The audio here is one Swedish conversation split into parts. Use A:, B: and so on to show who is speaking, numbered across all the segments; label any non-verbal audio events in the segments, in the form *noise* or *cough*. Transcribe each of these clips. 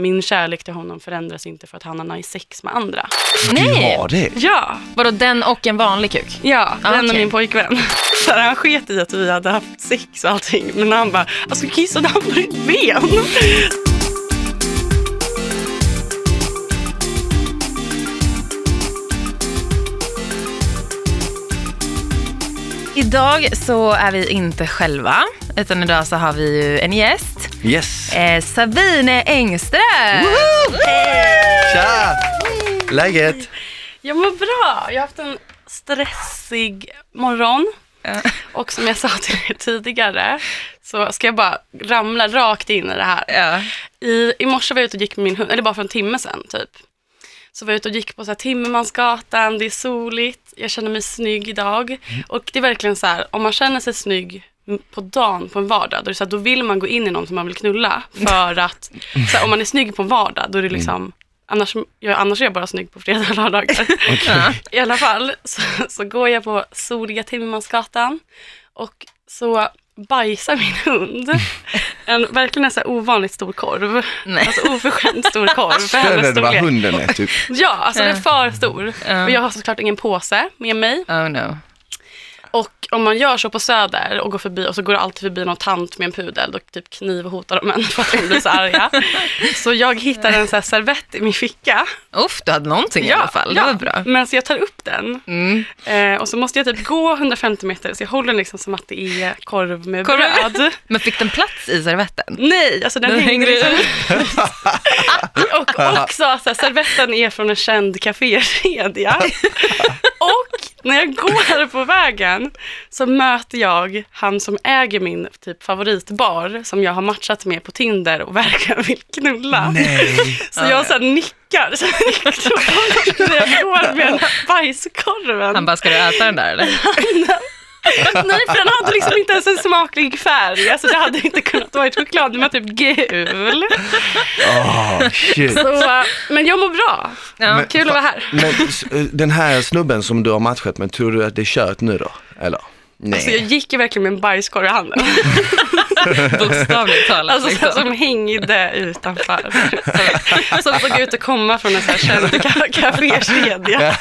A: Min kärlek till honom förändras inte för att han har nice sex med andra.
B: Nej!
C: Du har det?
A: Ja,
B: Vadå den och en vanlig kuk?
A: ja,
B: Ah,
A: den är
B: okej.
A: min pojkvän. Så här, han sket i att vi hade haft sex och allting. Men han bara, alltså kissade han på ditt ben?
B: Idag så är vi inte själva, utan idag så har vi ju en gäst.
C: Yes!
B: Eh, Sabine Engström!
C: Tja! Läget?
A: Jag mår bra. Jag har haft en stressig morgon.
B: Ja.
A: Och som jag sa till er tidigare så ska jag bara ramla rakt in i det här.
B: Ja.
A: I, I morse var jag ute och gick med min hund, eller bara för en timme sedan typ. Så var jag ute och gick på så här Timmermansgatan, det är soligt, jag känner mig snygg idag.
C: Mm.
A: Och det är verkligen så här, om man känner sig snygg m- på dagen på en vardag, då, är det så här, då vill man gå in i någon som man vill knulla. För att
C: Mm.
A: så här, om man är snygg på en vardag, då är det liksom, annars, jag, annars är jag bara snygg på fredag och
C: *laughs*
A: lördagar. I alla fall så, så går jag på soliga Timmermansgatan och så bajsar min hund en verkligen en så här ovanligt stor korv.
B: Nej.
A: Alltså oförskämt stor korv för
C: Större
A: hennes
C: än vad
A: storlek.
C: hunden är typ.
A: Ja, alltså den är för stor.
B: Eh, Ja.
A: Och jag har såklart ingen påse med mig.
B: Oh no.
A: Och om man gör så på Söder och går förbi och så går det alltid förbi någon tant med en pudel och typ knivhotar dem en för att de blir så
B: *laughs*
A: arga. Så jag hittar en så här servett i min ficka.
B: Uff, du hade någonting i alla fall. Det var bra.
A: Men så jag tar upp den
B: Mm.
A: Eh, och så måste jag typ gå 150 meter, så jag håller den liksom som att det är korv med
B: Korv.
A: bröd.
B: Men fick den plats i servetten?
A: Nej, alltså den,
B: Den
A: hänger
B: hänger i-
A: liksom... *laughs* och också att så här, servetten är från en känd
B: *laughs*
A: kafékedja. och när jag går på vägen så möter jag han som äger min typ favoritbar som jag har matchat med på Tinder och verkligen vill knulla.
C: Nej!
A: Så jag så här, nickar så här, nickar när jag går med den här bajskorven.
B: Han bara, ska du äta den där
C: *laughs*
B: eller?
A: Nej, för den hade liksom inte ens en smaklig färg. Alltså det hade inte kunnat vara choklad, den var typ gul.
C: Oh, shit.
A: Så, eh, men jag mår bra.
B: Ja,
C: Men-
A: Kul att vara
C: *laughs*
A: här.
C: Men s- eh, den här snubben som du har matchat med, tror du att det är kört nu då? Eller? Nej.
A: Alltså jag gick ju verkligen med en bajskorv i
B: *laughs*
A: handen.
B: bokstavligt talat. liksom.
A: Alltså så, som hängde utanför. Så,
B: *laughs*
A: som såg ut att komma från en sån här känd ka- kafékedja.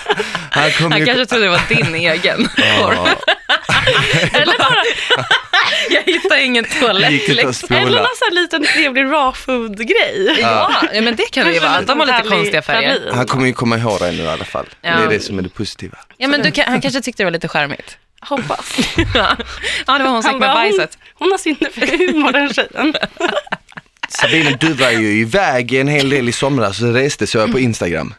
C: Han kom
B: Han
C: ju...
B: kanske trodde det var din egen korv.
C: Ja,
A: Eller bara
B: *laughs* Jag hittar ingen liksom.
C: gick ut och
B: toalettlexik.
A: eller
C: spola.
A: någon sån här liten trevlig raw food-grej.
B: Ja, ja, men det kan det ju vara. De har lite konstiga färger.
C: Han kommer ju komma ihåg dig nu i alla fall.
B: Ja.
C: Det är det som är det positiva.
B: Ja, men du, kan- han kanske tyckte det var lite charmigt.
A: Hoppas.
B: Ja, ja *laughs* det var hon som gick med
A: bara,
B: bajset.
A: Hon, hon har sinne för *laughs* humor den tjejen.
C: Sabine, du var ju iväg en hel del i somras, reste så jag på Instagram.
A: Mm.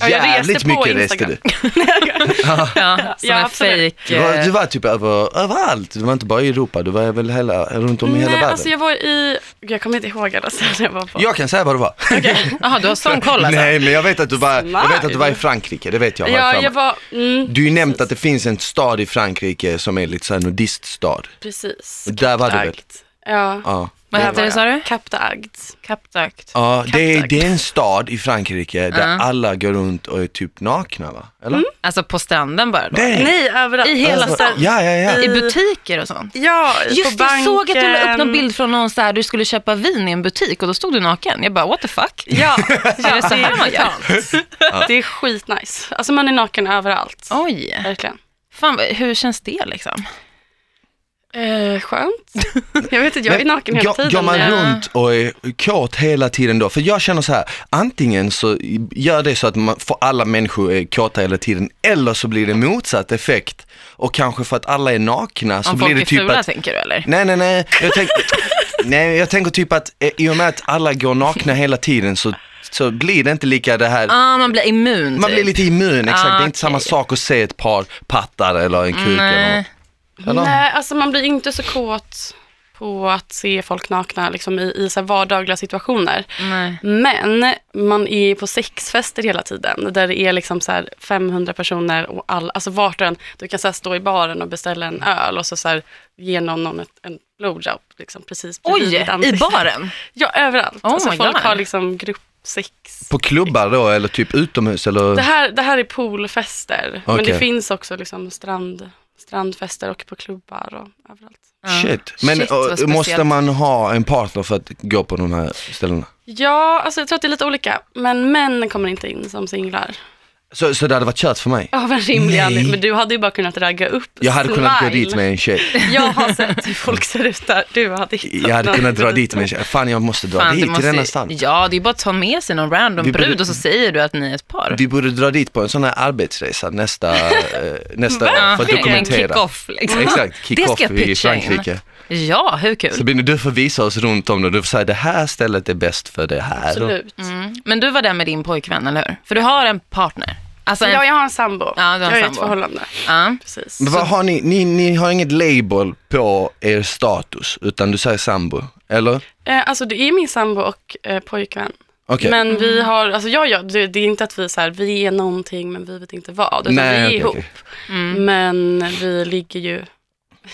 A: jag reste
C: Jävligt
A: på
C: mycket reste
A: Instagram.
C: du.
B: Ja, som
A: Ja,
B: en eh,
A: absolut.
B: fejk.
C: Du var, du var typ över, överallt, du var inte bara i Europa, du var väl hela, runt om i hela
A: Nej,
C: världen.
A: alltså jag var i... Gud, Jag kommer inte ihåg alla ställen jag var på.
C: Jag kan säga vad du var.
B: Jaha, du har sån koll alltså?
C: Nej men jag vet att du var, jag vet att du var i
A: Smart.
C: Frankrike, det vet jag. har jag
A: ja,
C: för
A: jag
C: mig.
A: var... Mm,
C: Du har ju nämnt att det finns en stad i Frankrike som är lite såhär nudiststad.
A: precis.
C: Och där var du väl?
A: Kaptagd. Ja.
C: Ja.
B: Vad
A: där
B: hette
A: var
B: det sa
A: jag.
B: du?
A: Kaptagd.
B: Kappdakt.
C: Ja, det är,
B: Kaptagd.
C: det är en stad i Frankrike där
B: Ja.
C: alla går runt och är typ nakna va? Eller?
B: Alltså på stranden bara då?
C: Nej.
A: Mm. Nej, överallt.
B: I hela
C: Alltså,
B: stan?
C: Ja, ja, ja.
B: I butiker och sånt?
A: Ja, i- på
B: Just det,
A: banken.
B: jag såg att du la upp någon bild från någon så här, du skulle köpa vin i en butik och då stod du naken. Jag bara, what the fuck?
A: Ja, ja *laughs*
B: Är det så här man gör?
A: det är skitnice. Alltså man är naken överallt.
B: Oj,
A: Verkligen.
B: Fan, vad- hur känns det liksom?
A: Eh, skönt. *laughs* Jag vet inte, jag är
C: Men
A: naken hela
C: går-
A: tiden.
C: Går man
A: men-
C: runt och är kåt hela tiden då? För jag känner så här, antingen så gör det så att man, för alla människor är kåta hela tiden, eller så blir det motsatt effekt. Och kanske för att alla är nakna så
B: Om
C: blir
B: folk
C: det
B: är
C: typ
B: fula
C: att
B: tänker du eller?
C: Nej, nej, nej. Jag, tänk, nej, jag tänker typ att eh, i och med att alla går nakna hela tiden så, så blir det inte lika det här.
B: Ah, man blir immun
C: Man blir
B: typ.
C: lite immun, exakt. det är
B: Ah,
C: inte samma
B: okej.
C: sak att se ett par pattar eller en kuk eller
B: Nej.
C: något. Eller?
A: Nej, alltså man blir inte så kåt på att se folk nakna liksom, i, i så här vardagliga situationer.
B: Nej.
A: Men man är ju på sexfester hela tiden där det är liksom så här 500 personer och all, alltså vart och en, du kan så här stå i baren och beställa en öl och så, så här ge någon, någon ett, en blowjob liksom, precis bredvid
B: Oj,
A: ditt
B: i
A: ansikte.
B: baren?
A: Ja, överallt.
B: Oh
A: alltså,
B: my
A: folk
B: God.
A: har liksom gruppsex.
C: På klubbar då eller typ utomhus
A: Det
C: eller?
A: här, det här är poolfester, men
C: Okej.
A: det finns också liksom strand, strandfester och på klubbar och överallt.
B: Ja.
C: Shit. Men
B: Shit,
C: och,
B: vad speciellt.
C: måste man ha en partner för att gå på de här ställena?
A: Ja, alltså jag tror att det är lite olika, men män kommer inte in som singlar.
C: Så, så det hade varit kört för mig?
A: Av en rimlig
C: Nej.
A: anledning, men du hade ju bara kunnat ragga upp
C: Jag hade kunnat gå
A: smile.
C: dit med en tjej.
A: Jag har sett hur folk ser ut där, du hade hittat
C: Jag hade
A: någon.
C: kunnat dra dit med en tjej. Fan jag måste dra
B: Fan, du
C: dit till
B: måste-
C: denna stan.
B: Ja, det är bara att ta med sig någon random
C: Vi borde-
B: brud och så säger du att ni är ett par.
C: Vi borde dra dit på en sån här arbetsresa nästa, eh, nästa år för att
B: Verkligen.
C: dokumentera.
B: Kick-off liksom.
C: Exakt,
B: Det
C: kick-off
B: ska jag
C: i
B: pitcha in.
C: Frankrike.
B: Ja, hur kul.
C: Så Binny, du får visa oss runt om det. Du får säga det här stället är bäst för det här.
A: Absolut.
B: Mm. Men du var där med din pojkvän, eller hur? För du har en partner. Alltså, en...
A: Ja, jag har en sambo.
B: du har en
A: jag är i ett
B: sambo.
A: förhållande.
B: Ja.
A: Precis.
C: Men vad har ni, ni, ni har inget label på er status utan du säger sambo, eller?
A: Eh, alltså det är min sambo och eh, pojkvän.
C: Okej.
A: Men
B: Mm.
A: vi har, alltså jag, jag, det, det är inte att vi, är så här, vi är någonting men vi vet inte vad. Utan vi är
C: okej,
A: ihop.
C: okej.
A: Men vi ligger ju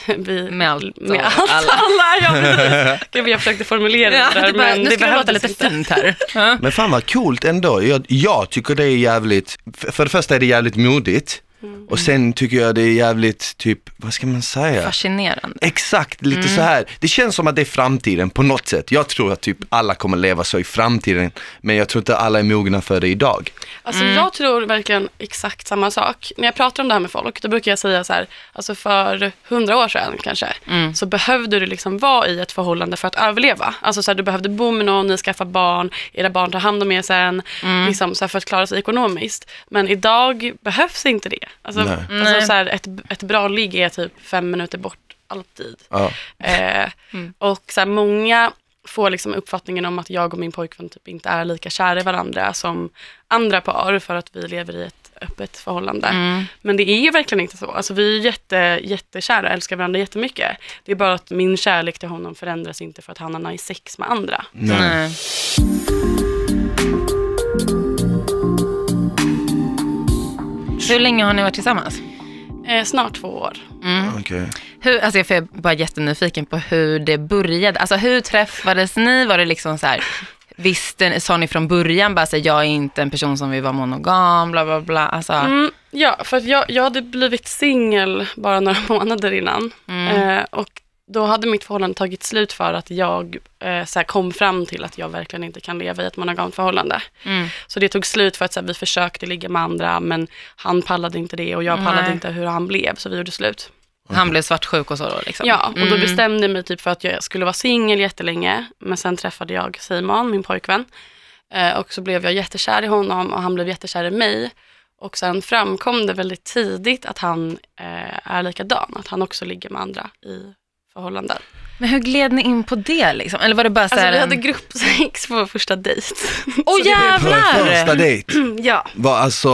A: *laughs* vi,
B: Mm. Med allt och
A: med allt
B: alla.
A: alla. *laughs* ja,
C: *laughs*
A: precis. Gud, jag försökte formulera
B: Ja,
A: det där
B: det bara,
A: men
B: nu
A: det
B: ska det låta
A: behövdes
B: lite
A: inte.
B: fint här. Ja.
C: Men fan vad coolt ändå. Jag, jag tycker det är jävligt, f- för det första är det jävligt modigt
A: Mm.
C: och sen tycker jag det är jävligt typ, vad ska man säga?
B: Fascinerande.
C: Exakt, lite
B: Mm.
C: så här. Det känns som att det är framtiden på något sätt. Jag tror att typ alla kommer leva så i framtiden, men jag tror inte alla är mogna för det idag.
A: Alltså jag tror verkligen exakt samma sak. När jag pratar om det här med folk, då brukar jag säga så här, alltså för hundra år sedan kanske, så behövde du liksom vara i ett förhållande för att överleva. Alltså så här, du behövde bo med någon, ni skaffar barn, era barn tar hand om er sen, liksom så här, för att klara sig ekonomiskt. Men idag behövs inte det. Alltså,
C: Nej.
A: alltså så här, ett, ett bra ligg är typ fem minuter bort alltid.
C: Ja.
A: Eh, Och så här, många får liksom uppfattningen om att jag och min pojkvän typ inte är lika kära i varandra som andra par för att vi lever i ett öppet förhållande. Men det är ju verkligen inte så. Alltså, vi är jätte, jättekära, älskar varandra jättemycket. Det är bara att min kärlek till honom förändras inte för att han har nice sex med andra.
B: Mm.
C: Nej.
B: Nej. Hur länge har ni varit tillsammans?
A: Eh, snart två år.
B: Mm.
C: Okej.
B: Hur, alltså jag för jag är bara jättenyfiken på hur det började. Alltså hur träffades ni? Var det liksom så här, visste, sa ni från början bara så här, jag är inte en person som vill vara monogam, bla bla bla. Alltså,
A: Mm, ja, för att jag, jag hade blivit singel bara några *laughs* månader innan.
B: Mm.
A: Eh, och då hade mitt förhållande tagit slut för att jag eh, så här, kom fram till att jag verkligen inte kan leva i ett monogamt förhållande.
B: Mm.
A: Så det tog slut för att så här, vi försökte ligga med andra men han pallade inte det och jag pallade
B: Nej.
A: inte hur han blev så vi gjorde slut.
B: Han blev svartsjuk och så då liksom.
A: Ja, och då
B: Mm.
A: bestämde jag mig typ för att jag skulle vara singel jättelänge. Men sen träffade jag Simon, min pojkvän. Eh, och så blev jag jättekär i honom och han blev jättekär i mig. Och sen framkom det väldigt tidigt att han eh, är likadan, att han också ligger med andra i förhållanden.
B: Men hur gled ni in på det liksom? Eller var det bara så
A: Alltså
B: här
A: vi hade
B: en-
A: gruppsex på vår första dejt. *laughs*
B: Åh
A: Så det-
C: På
B: *laughs*
C: första
B: jävlar!
C: dejt,
A: ja.
C: var, alltså,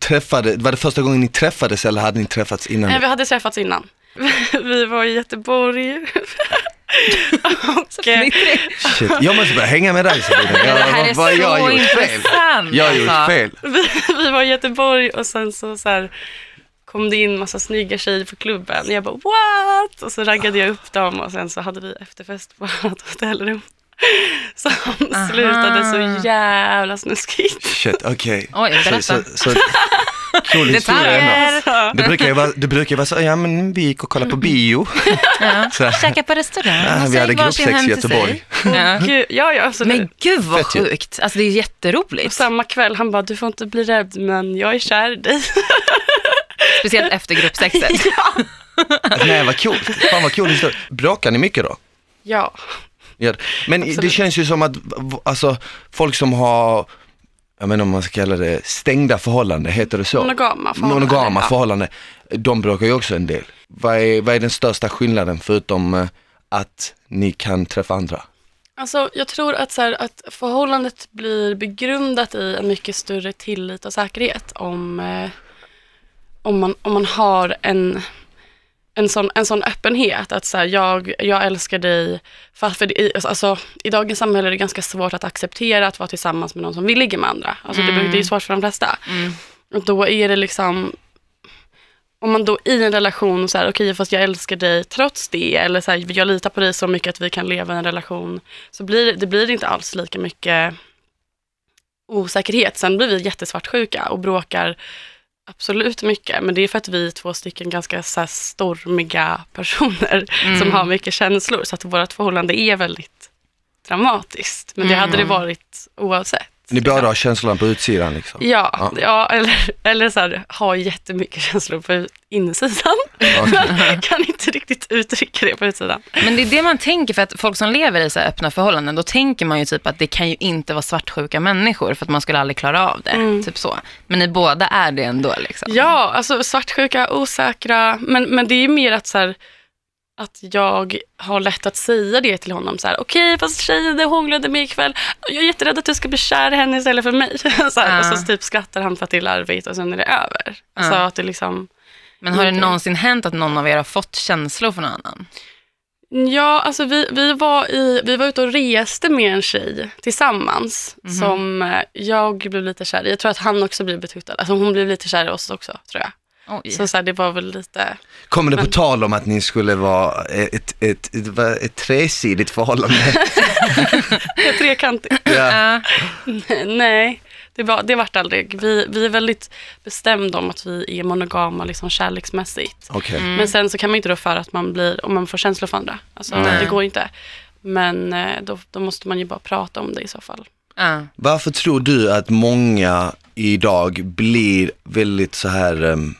C: träffade, var det första gången ni träffades eller hade ni träffats innan?
A: Nej, vi hade träffats innan. *laughs* Vi var i Göteborg. *laughs* och, eh,
C: Shit. Jag måste börja hänga med dig
B: *laughs*
C: Sabina.
B: Det
C: Jag,
B: här är
C: vad- vad
B: så
C: jag har gjort fel.
B: intressant.
C: Jag har gjort
B: alltså.
C: fel.
A: vi, vi var i Göteborg och sen så, så här, kom det in massa snygga tjejer på klubben. Jag bara what? Och så raggade jag upp dem och sen så hade vi efterfest på *laughs* vårt hotellrum. Som slutade så jävla snuskigt.
C: Shit, okej.
B: Oj, berätta.
C: Så, så, så, cool historia ändå.
A: Alltså,
C: Det brukar ju vara, det brukar ju vara så, ja men vi gick och kollade
B: *laughs*
C: på bio.
B: Ja.
C: Så här.
B: Käka på restaurang
C: Ja,
B: och
C: vi
B: så
C: hade
B: gick varsin
C: gruppsex
B: hem
C: i
B: till sig.
C: Göteborg.
B: Ja.
A: gud, ja, ja, så det,
B: Men gud vad
C: Fett ju.
B: sjukt. Alltså det är jätteroligt.
A: samma kväll han bara du får inte bli rädd men jag är kär i dig. *laughs*
B: Speciellt efter gruppsexet.
C: Nej vad coolt, fan vad cool historia. Bråkar ni mycket då?
A: Ja,
C: Ja. Men det
A: Absolut.
C: känns ju som att, v- alltså folk som har, jag menar om man ska kalla det stängda förhållanden, heter det så?
A: monogama förhållanden.
C: Monogama
A: Ja.
C: förhållanden, de bråkar ju också en del. Vad är, vad är den största skillnaden förutom eh, att ni kan träffa andra?
A: Alltså, jag tror att, så här, att förhållandet blir begrundat i en mycket större tillit och säkerhet om, eh, om, man, om man har en, en, sån, en sån öppenhet. Att så här, jag, jag älskar dig. För, för det, i- alltså, I dagens samhälle är det ganska svårt att acceptera att vara tillsammans med någon som vill ligga med andra. Alltså, det, blir- det är svårt för de flesta.
B: Mm.
A: Och då är det liksom om man då i en relation så här, okej fast jag älskar dig trots det eller så här, jag litar på dig så mycket att vi kan leva i en relation så blir det blir inte alls lika mycket osäkerhet. Sen blir vi jättesvartsjuka och bråkar absolut mycket, men det är för att vi är två stycken ganska så här, stormiga personer som har mycket känslor, så att vårt förhållande är väldigt dramatiskt. Men det hade det varit oavsett.
C: Ni båda har känslan på utsidan liksom.
A: Ja,
C: Ja.
A: ja. eller, eller så här, har jättemycket känslor på *laughs* insidan, men kan inte riktigt uttrycka det på utsidan.
B: Men det är det man tänker, för att folk som lever i så här öppna förhållanden, då tänker man ju typ att det kan ju inte vara svartsjuka människor, för att man skulle aldrig klara av det. Typ så. Men ni båda är det ändå. Liksom.
A: Mm. Ja, alltså svartsjuka, osäkra, men, men det är mer att så här, att jag har lätt att säga det till honom. så här, Okej, fast tjejen det hånglade med ikväll. Jag är jätterädd att du ska bli kär i henne istället för mig. *laughs* så här,
B: Ah.
A: Och så typ skrattar han för att det är larvigt och sen är det över. Så
B: Ah.
A: att det liksom,
B: Men har det
A: Okej.
B: någonsin hänt att någon av er har fått känslor för någon annan?
A: ja, alltså vi, vi, var i, vi var ute och reste med en tjej tillsammans som eh, jag blev lite kär i. Jag tror att han också blev betuttad. Alltså hon blev lite kär i oss också tror jag.
B: Oj.
A: Så, så här, det var väl lite *laughs*
C: Kommer det på tal om att ni skulle vara ett, ett, ett, ett, vad- ett
A: *laughs*
C: tresidigt förhållande?
A: trekantigt. *laughs*
C: ja.
B: Ja.
A: Nej, det, var, det vart aldrig. Vi, vi är väldigt bestämda om att vi är monogama liksom kärleksmässigt.
C: Okej.
A: Men sen så kan man ju inte då för att man blir, om man får känslor för andra. Alltså,
B: Nej.
A: Det går ju inte. Men eh, då, då måste man ju bara prata om det i så fall.
B: Ja.
C: Varför tror du att många idag blir väldigt så här um,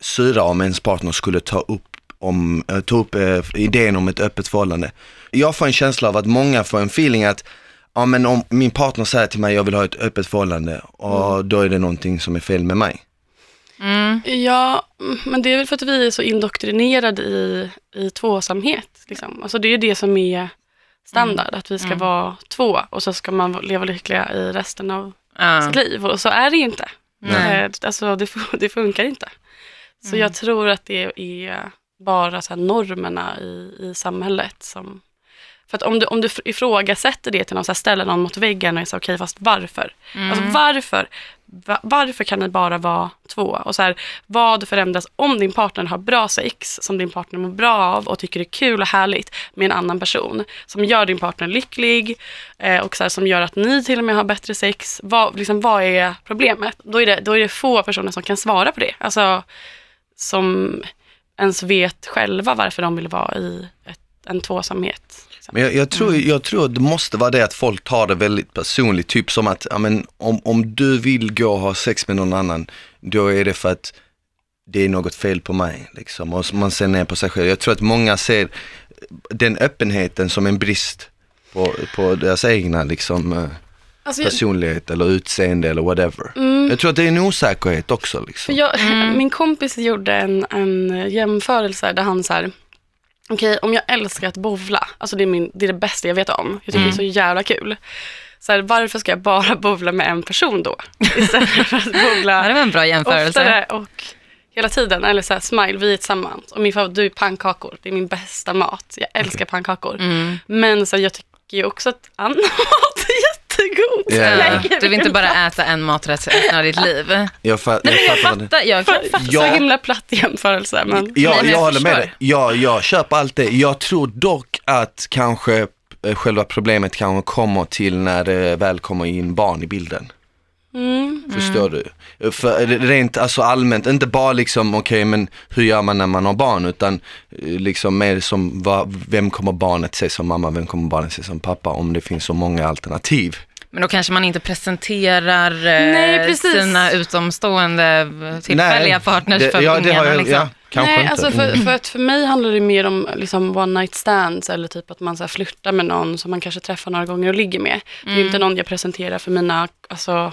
C: syra om ens partner skulle ta upp, om, eh, ta upp eh, idén om ett öppet förhållande? Jag får en känsla av att många får en feeling att ja, men om min partner säger till mig jag vill ha ett öppet förhållande och då är det någonting som är fel med mig.
B: Mm.
A: Ja, mm, men det är väl för att vi är så indoktrinerade i, i tvåsamhet. Liksom. Alltså, det är ju det som är standard,
B: Mm.
A: att vi ska vara två och så ska man leva lyckliga i resten av
B: Ja.
A: sitt liv. Och så är det ju inte.
B: Nej. Mm.
A: Eh, Alltså det, fun- det funkar inte. Så jag tror att det är bara så här normerna i, i samhället som... För att om du, om du fr- ifrågasätter det till någon, så här, ställer någon mot väggen och är så okej fast varför? Alltså varför? Va, varför kan ni bara vara två? Och så här, vad förändras om din partner har bra sex som din partner mår bra av och tycker är kul och härligt med en annan person som gör din partner lycklig eh, och så här, som gör att ni till och med har bättre sex. Vad, liksom, vad är problemet? Då är, det, då är det få personer som kan svara på det. Alltså som ens vet själva varför de vill vara i ett, en tvåsamhet.
C: Men jag, jag,
B: Mm.
C: tror, jag tror att det måste vara det att folk tar det väldigt personligt, typ som att ja, men, om, om du vill gå och ha sex med någon annan, då är det för att det är något fel på mig. Liksom. Och så man ser ner på sig själv. Jag tror att många ser den öppenheten som en brist på, på deras egna liksom, eh,
A: Alltså, jag-
C: personlighet eller utseende eller whatever.
B: Mm.
C: Jag tror att det är en osäkerhet också. Liksom.
A: Jag, Min kompis gjorde en, en jämförelse där han så här, okej om jag älskar att bowla, alltså det är, min, det är det bästa jag vet om, jag tycker det är
C: Mm.
A: så jävla kul. Så här, varför ska jag bara *laughs* bowla med en person då? Istället för att
B: *laughs* Ja, det
A: bowla
B: var en bra jämförelse.
A: oftare och hela tiden. Eller så här, smile, vi är tillsammans. Och min favorit, du är pannkakor. Det är min bästa mat. Jag älskar pannkakor.
B: Mm.
A: Men så här, jag tycker ju också att annan *laughs* mat är jättegod. Så *laughs*
C: Ja.
A: lägger vi
B: Du vill inte
A: en
B: bara äta en maträtt resten av ditt liv.
C: Jag, fa-
B: Nej, men jag
C: fattar vad det-
B: fattar. Jag kan
A: Så
B: fatta.
C: Ja.
A: himla platt jämförelse. Men...
C: Ja,
B: Nej, men
C: jag,
B: jag
C: håller med
B: förstår.
C: dig. Ja, jag köper allt det. Jag tror dock att kanske eh, själva problemet kanske kommer till när det väl kommer in barn i bilden.
A: mm.
B: Mm.
C: Förstår du? Eh, För eh, rent alltså allmänt, inte bara liksom okej men hur gör man när man har barn utan eh, liksom mer som vad, vem kommer barnet se som mamma, vem kommer barnet se som pappa om det finns så många alternativ.
B: Men då kanske man inte presenterar eh,
A: Nej, precis.
B: sina utomstående tillfälliga
C: Nej,
B: partners
C: det-
B: för
C: ja, det
B: ungarna.
C: har jag,
B: liksom.
C: ja, kanske
A: Nej,
C: inte. Mm.
A: alltså för, för, att för mig handlar det mer om liksom one night stands eller typ att man så här flirtar med någon som man kanske träffar några gånger och ligger med. Det är ju inte
B: Mm.
A: någon jag presenterar för mina alltså,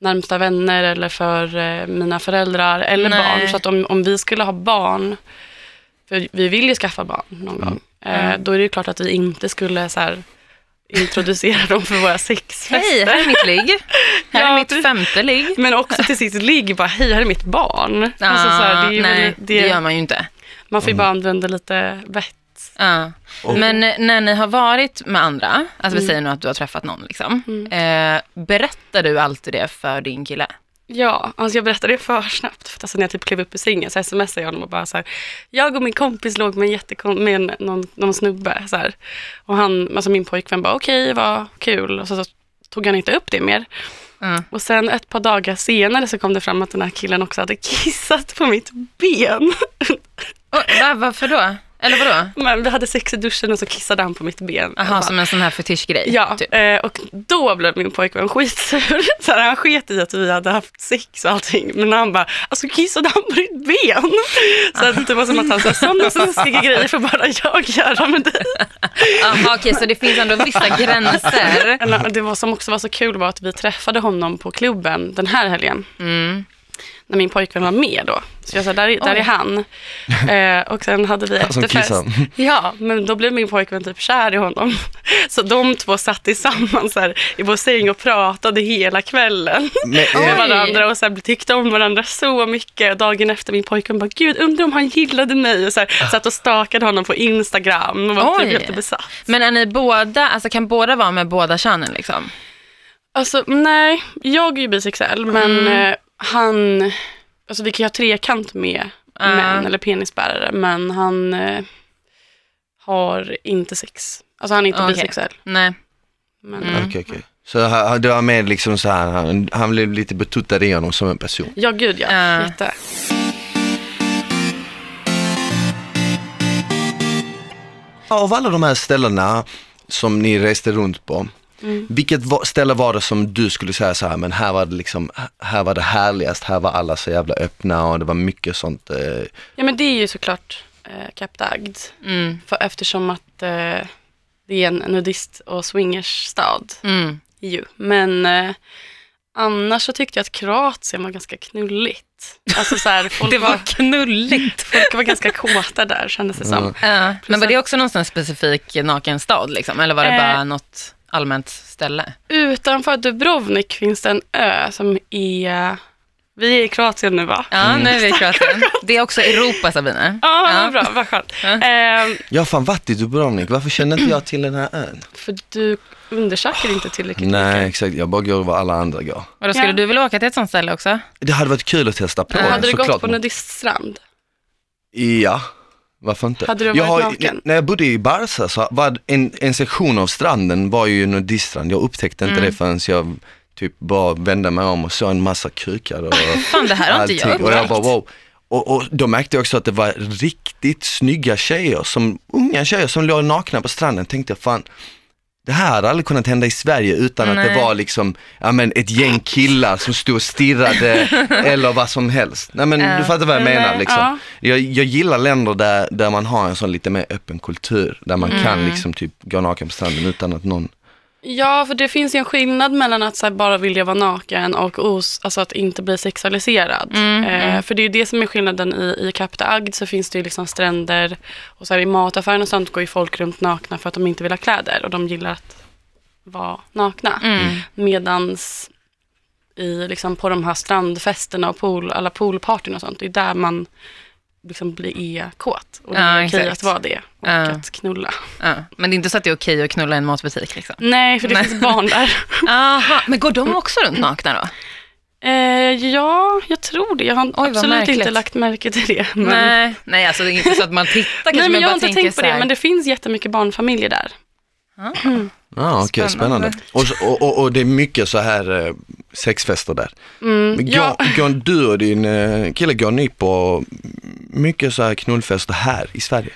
A: närmsta vänner eller för eh, mina föräldrar eller
B: Nej.
A: barn. Så att om, om vi skulle ha barn, för vi vill ju skaffa barn någon
C: Mm.
A: gång, eh,
B: Mm.
A: då är det ju klart att vi inte skulle så här, introducera *laughs* dem för våra sexfester.
B: Hej, här är mitt ligg.
A: *laughs*
B: Här är
A: Ja,
B: mitt
A: precis.
B: femte ligg.
A: Men också till sitt ligg, bara hej, här är mitt barn. Alltså, så här,
B: Ah,
A: det är ju
B: nej,
A: väl-
B: det gör man ju inte.
A: Man får ju bara använda lite vett.
B: Ja. Men eh, när ni har varit med andra, alltså
A: Mm.
B: vi säger nu att du har träffat någon, liksom, eh, berättar du alltid det för din kille?
A: Ja, alltså jag berättade det för snabbt. För att alltså när jag typ klev upp ur sängen så smsade jag honom och bara så här, jag och min kompis låg med en, jättekon- med en någon, någon snubbe. Så här. Och han, alltså min pojkvän bara okej, vad kul. Och så, så tog han inte upp det mer.
B: Mm.
A: Och sen ett par dagar senare så kom det fram att den här killen också hade *laughs* kissat på mitt ben.
B: Och, va, varför då? Eller vadå?
A: Men vi hade sex i duschen och så kissade han på mitt ben.
B: Jaha, som en sån här fetischgrej?
A: Ja,
B: Typ.
A: eh, och då blev min pojkvän skitsur. *laughs* Så här, han sket i att vi hade haft sex och allting. Men han bara, alltså kissade han på ditt ben? Så att det var som att han sa, sådana snuskiga grejer får bara jag göra med
B: *laughs*
A: dig.
B: Jaha, okej, så det finns
A: *laughs*
B: ändå vissa gränser.
A: Eller, Det var som också var så kul var att vi träffade honom på klubben den här helgen.
B: Mm.
A: När min pojkvän var med då. Så jag sa, där, är- där är
B: *laughs*
A: han. Eh, och sen hade vi
C: som
A: efterfest.
C: kissade.
A: Ja, men då blev min pojkvän typ kär i honom. Så de två satt tillsammans här i vår säng och pratade hela kvällen.
C: Men, eh,
A: med
B: Oj.
A: varandra och så här, tyckte om varandra så mycket. Och dagen efter min pojkvän bara, gud undrar om han gillade mig. Och så här, satt och stakade honom på Instagram och var
B: Ah. Oj.
A: typ jättebesatt.
B: Men är ni båda, alltså kan båda vara med båda könen liksom?
A: Alltså nej, jag är ju bisexuell men
B: Mm.
A: eh, han, alltså vi kan ju ha trekant med
B: Ah.
A: män eller penisbärare men han eh, har inte sex. Alltså han är inte
B: Ah, Okej.
A: bisexuell.
B: Nej.
A: Men,
C: Okej, okej. Så han, han- det var mer liksom så här, han, han blev lite betuttad i honom som en person.
A: Ja gud ja,
B: Ah.
A: jätte.
C: Av alla de här ställena som ni reste runt på, vilket va- ställe var det som du skulle säga så här, men här var det liksom, här var det härligast, här var alla så jävla öppna och det var mycket sånt. Eh,
A: Ja men det är ju såklart eh, Cap Dagd
B: Mm.
A: för, eftersom att eh, det är en nudist och swingersstad
B: Mm.
A: ju. Men eh, annars så tyckte jag att Kroatien var ganska knulligt. Alltså så
B: *laughs*
A: här, folk
B: Det var knulligt.
A: Folk var ganska kåta där kändes det som.
B: Ja, men var det också någon sån här specifik nakenstad liksom? Eller var det
A: Eh.
B: bara något allmänt ställe?
A: Utanför Dubrovnik finns det en ö som är... Vi är i Kroatien nu va?
B: Ja, nu är vi i Kroatien. Det är också Europa Sabina.
A: Ja,
B: Mm. Ja.
A: vad bra, vad skönt.
B: Ja.
A: Ehm,
C: jag har fan varit i Dubrovnik, varför känner inte jag till den här ön?
A: för du undersöker inte tillräckligt
C: Nej,
A: mycket.
C: exakt, jag bara går vad alla andra går.
B: Och då skulle
A: Ja.
B: du vilja åka till ett sånt ställe också?
C: Det hade varit kul att testa på den,
A: Hade du gått
C: såklart.
A: på nudiststrand?
C: Ja, varför inte?
A: Hade du
C: jag
A: varit
C: har-
A: naken?
C: När jag bodde i Barca så var en, en sektion av stranden var ju nudiststrand. Jag upptäckte inte
A: Mm.
C: det förrän jag typ bara vände mig om och såg en massa kukar och
A: *laughs*
B: Fan, det här har inte jag
C: allting. Och jag bara
B: upptäckt.
C: wow. Och, och då märkte jag också att det var riktigt snygga tjejer, som, unga tjejer som låg nakna på stranden. Tänkte jag fan, det här hade aldrig kunnat hända i Sverige utan att det
B: Nej.
C: var liksom, ja men ett gäng killar som stod
B: *laughs*
C: och stirrade eller vad som helst. Nej men du fattar vad jag
A: Nej,
C: menar liksom.
A: ja.
C: Jag, jag gillar länder där, där man har en sån lite mer öppen kultur, där man
B: Mm.
C: kan liksom typ gå naken på stranden utan att någon
A: Ja, för det finns ju en skillnad mellan att så här, bara vilja vara naken och os, alltså att inte bli sexualiserad.
B: Mm,
A: eh, För det är ju det som är skillnaden i, i Kapta Agd så finns det ju liksom stränder och så här, i mataffären och sånt går ju folk runt nakna för att de inte vill ha kläder och de gillar att vara nakna.
B: Mm.
A: Medans i, liksom, på de här strandfesterna och pool, alla poolpartyn och sånt, det är där man liksom blir är kåt. Och det
B: Ja,
A: är okej
B: exakt.
A: att vara det och
B: Ja.
A: att knulla.
B: Ja. Men det är inte så att det är okej att knulla i en matbutik liksom?
A: Nej, för det
B: Nej.
A: finns barn där.
B: *laughs* Aha, men går de också runt nakna då?
A: Eh, ja, jag tror det. Jag har
B: vad
A: absolut
B: märkligt.
A: inte lagt märke till det. Men...
B: Nej, nej alltså det är inte så att man tittar kanske,
A: Nej, men jag har
B: bara
A: inte
B: tänker
A: tänkt på
B: så här-
A: det, men det finns jättemycket barnfamiljer där.
C: Ja, ah, okej, spännande.
B: Spännande.
C: Och, så- och, och, och det är mycket så här eh, sexfester där. Men går,
A: Mm, ja.
C: går du och din eh, kille, går ni på mycket så här knullfester här i Sverige?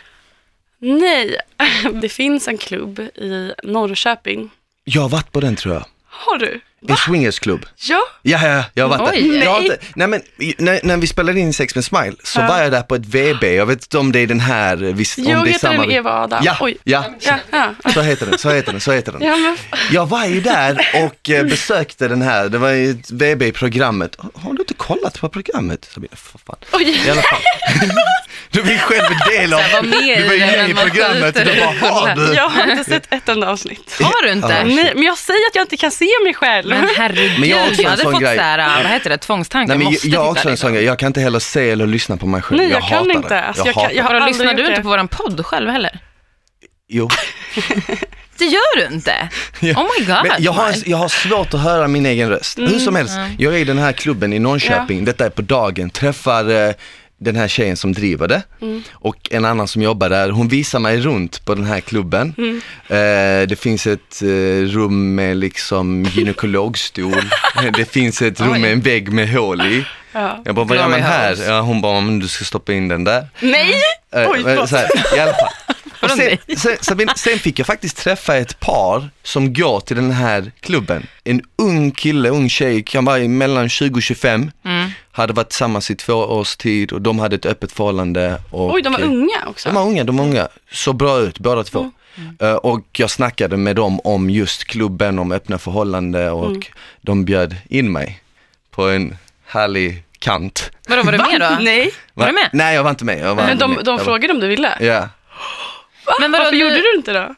A: Nej, *laughs* det finns en klubb i Norrköping.
C: Jag har varit på den tror jag.
A: Har du?
C: En swingersklubb.
A: Ja.
C: Ja, ja, ja, jag har varit
B: Oj.
C: där. Jag har inte, nej men, i- när, när vi spelade in Sex med Smile så
A: Ja.
C: var jag där på ett VB, jag vet inte om det är den här, eh, visst, om
A: Jag
C: det är
A: heter
C: samma.
A: den Eva Adam.
C: Ja,
A: Oj.
C: ja,
A: Ja, ja.
C: så heter den, så heter den, så heter den.
A: ja men,
C: Jag var ju där och eh, besökte den här, det var ju ett VB i programmet. Har du inte kollat på programmet? Sabina, för fan. I
A: oj.
C: alla fall. *laughs* Du blir själv en del av,
B: Jag var med
C: du var
B: i det,
C: ju med
B: men
C: i
B: man
C: programmet och
B: skjuter
C: du bara,
B: i
C: har
B: kullen.
C: du?
A: Jag har inte sett ett enda avsnitt.
B: Har du inte?
C: Ja.
A: Nej, men jag säger att jag inte kan se mig själv.
B: Men herregud,
C: Men jag har
B: jag,
C: också en
B: hade
C: sån
B: fått
C: grej.
B: så här, vad heter det, tvångstankar,
C: Nej, men jag,
B: måste
C: jag har också
B: titta
C: en sån
B: liksom.
C: grej, jag kan inte heller se eller lyssna på mig själv.
A: Nej, jag kan
C: hatar
A: inte.
C: det.
A: Alltså,
C: Jag
A: jag kan-
C: hatar
A: jag har-
C: det.
B: Vadå,
A: aldrig
B: lyssnar du
A: gjort
B: inte
A: det.
B: på våran podd själv heller?
C: Jo.
B: Det gör du inte? Oh my god.
C: Men jag, har,
B: Mike.
C: jag har svårt att höra min egen röst. Hur som helst, jag är i den här klubben i Norrköping, detta är på dagen, träffar eh, den här tjejen som driver det och en annan som jobbar där, hon visar mig runt på den här klubben. Eh, det finns ett eh, rum med liksom gynekologstol, det finns ett rum med en vägg med hål i.
A: *laughs* Ja.
C: Jag bara, vad gör man här?
B: Glory house.
C: Ja, hon bara, men du ska stoppa in den där.
A: Nej!
C: Eh,
A: Oj,
C: men
A: förlåt.
C: så här, I
A: *laughs*
C: alla fall. Och
B: Vadå
C: sen, sen, sen, sen fick jag faktiskt träffa ett par som går till den här klubben. En ung kille, ung tjej, kan vara mellan 20 och 25,
A: Mm.
C: hade varit tillsammans i två års tid och de hade ett öppet förhållande. Och,
A: Oj, de var
C: eh,
A: unga också.
C: De var unga, de var unga. Så bra ut båda två.
A: Mm.
C: Eh, och jag snackade med dem om just klubben, om öppna förhållande och
A: Mm.
C: de bjöd in mig på en härlig kant.
B: Vadå, var du med då?
A: Nej.
B: Var du med?
C: Nej, jag var inte med. Jag var
A: Men
C: inte
A: de,
C: med.
A: de
C: Jag var-
A: frågade om du ville.
C: Ja.
B: Men vadå,
A: Varför
B: nu-
A: gjorde du inte det?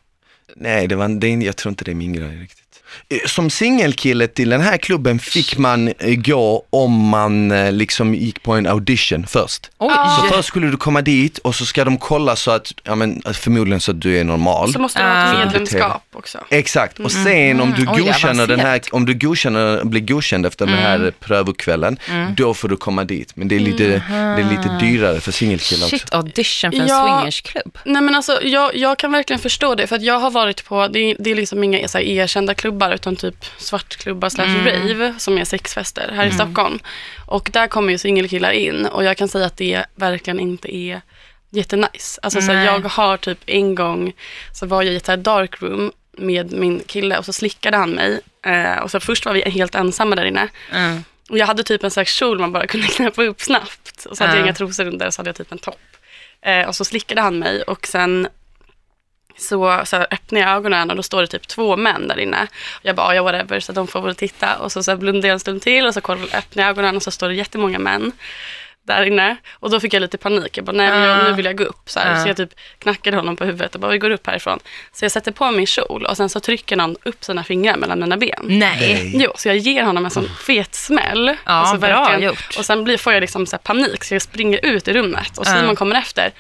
C: Nej, det var, det, är- jag tror inte det är min grej riktigt. Eh, Som singelkille till den här klubben fick man eh, gå om man eh, liksom gick på en audition först.
B: Oj,
C: Så först skulle du komma dit och så ska de kolla så att, ja men att förmodligen så att du är normal.
A: Så måste det vara
B: Ah.
A: ett medlemskap också.
C: Exakt, och sen om du
B: Mm. Oj,
C: godkänner den här,
B: avancerat.
C: om du godkänner, blir godkänd efter den
B: Mm.
C: här prövokvällen, då får du komma dit. Men det är lite, det är lite dyrare för singelkillar också.
B: Mm. Shit, audition för en
A: Ja.
B: swingersklubb.
A: Nej men alltså jag, jag kan verkligen förstå det för att jag har varit på, det är, det är liksom inga så här, erkända klubbar utan typ svartklubbar slash rave som är sexfester här i Stockholm. Och där kommer ju singelkillar in och jag kan säga att det verkligen inte är jättenice. Alltså så här,
B: Nej.
A: jag har typ en gång så var jag i ett så här dark room med min kille och så slickade han mig. Eh, och så först var vi helt ensamma där inne.
B: Mm.
A: Och jag hade typ en slags kjol man bara kunde *laughs* knäppa upp snabbt. Och så hade
B: Ja.
A: jag inga trosor under och så hade jag typ en topp. Eh, och så slickade han mig och sen så, så här, öppnade jag ögonen och då står det typ två män där inne. Och jag bara, ja whatever, så de får väl titta. Och så, så här, blundade jag en stund till och så kollade, öppnade jag ögonen och så står det jättemånga män där inne. Och då fick jag lite panik. Jag bara, nej men jag, nu vill jag gå upp. Så, här.
B: Ja.
A: så jag typ knackade honom på huvudet och bara, vi går upp härifrån. Så jag sätter på min kjol och sen så trycker någon upp sina fingrar mellan mina ben.
B: Nej.
A: Jo, så jag ger honom en sån fet smäll.
B: Ja,
A: alltså,
B: bra
A: verkligen.
B: gjort.
A: Och sen blir, får jag liksom så här panik så jag springer ut i rummet och Simon
B: Ja.
A: kommer efter.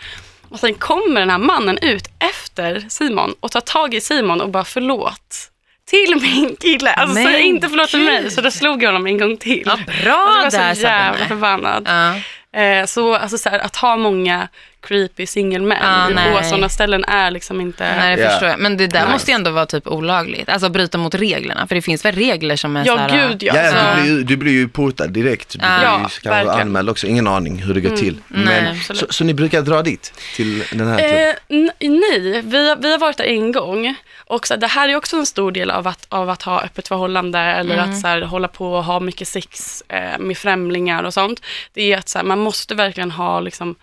A: Och sen kommer den här mannen ut efter Simon och tar tag i Simon och bara förlåt. Till min kille. Alltså
B: Men
A: säg inte förlåt till mig.
B: gud.
A: Så då slog jag honom en gång till.
B: Ja,
A: alltså, jag
B: bra
A: var
B: där
A: så jävla
B: Sabine.
A: förbannad.
B: Ja.
A: Eh, så, alltså, så här, att ha många creepy
B: Ja,
A: singelmän på
B: nej.
A: sådana ställen är liksom inte...
B: Nej, det
C: Ja.
B: förstår jag. Men det där
C: Nice.
B: måste ju ändå vara typ olagligt. Alltså bryta mot reglerna. För det finns väl regler som är så
A: ja,
B: här,
A: gud ja.
C: Ja,
A: Alltså,
C: du, blir, ju- du blir ju portad direkt. Du blir
A: Ja,
C: ju kanske
A: verkligen.
C: anmäld också. Ingen aning hur det går till.
B: nej,
C: Men,
A: absolut.
C: så, så ni brukar dra dit till den här klubben?
A: Eh, n- nej, vi, har- vi har varit där en gång. Och så, här, det här är också en stor del av att, av att ha öppet förhållande eller
C: Mm.
A: att så här, hålla på och ha mycket sex eh, med främlingar och sånt. Det är att så här, man måste verkligen ha liksom,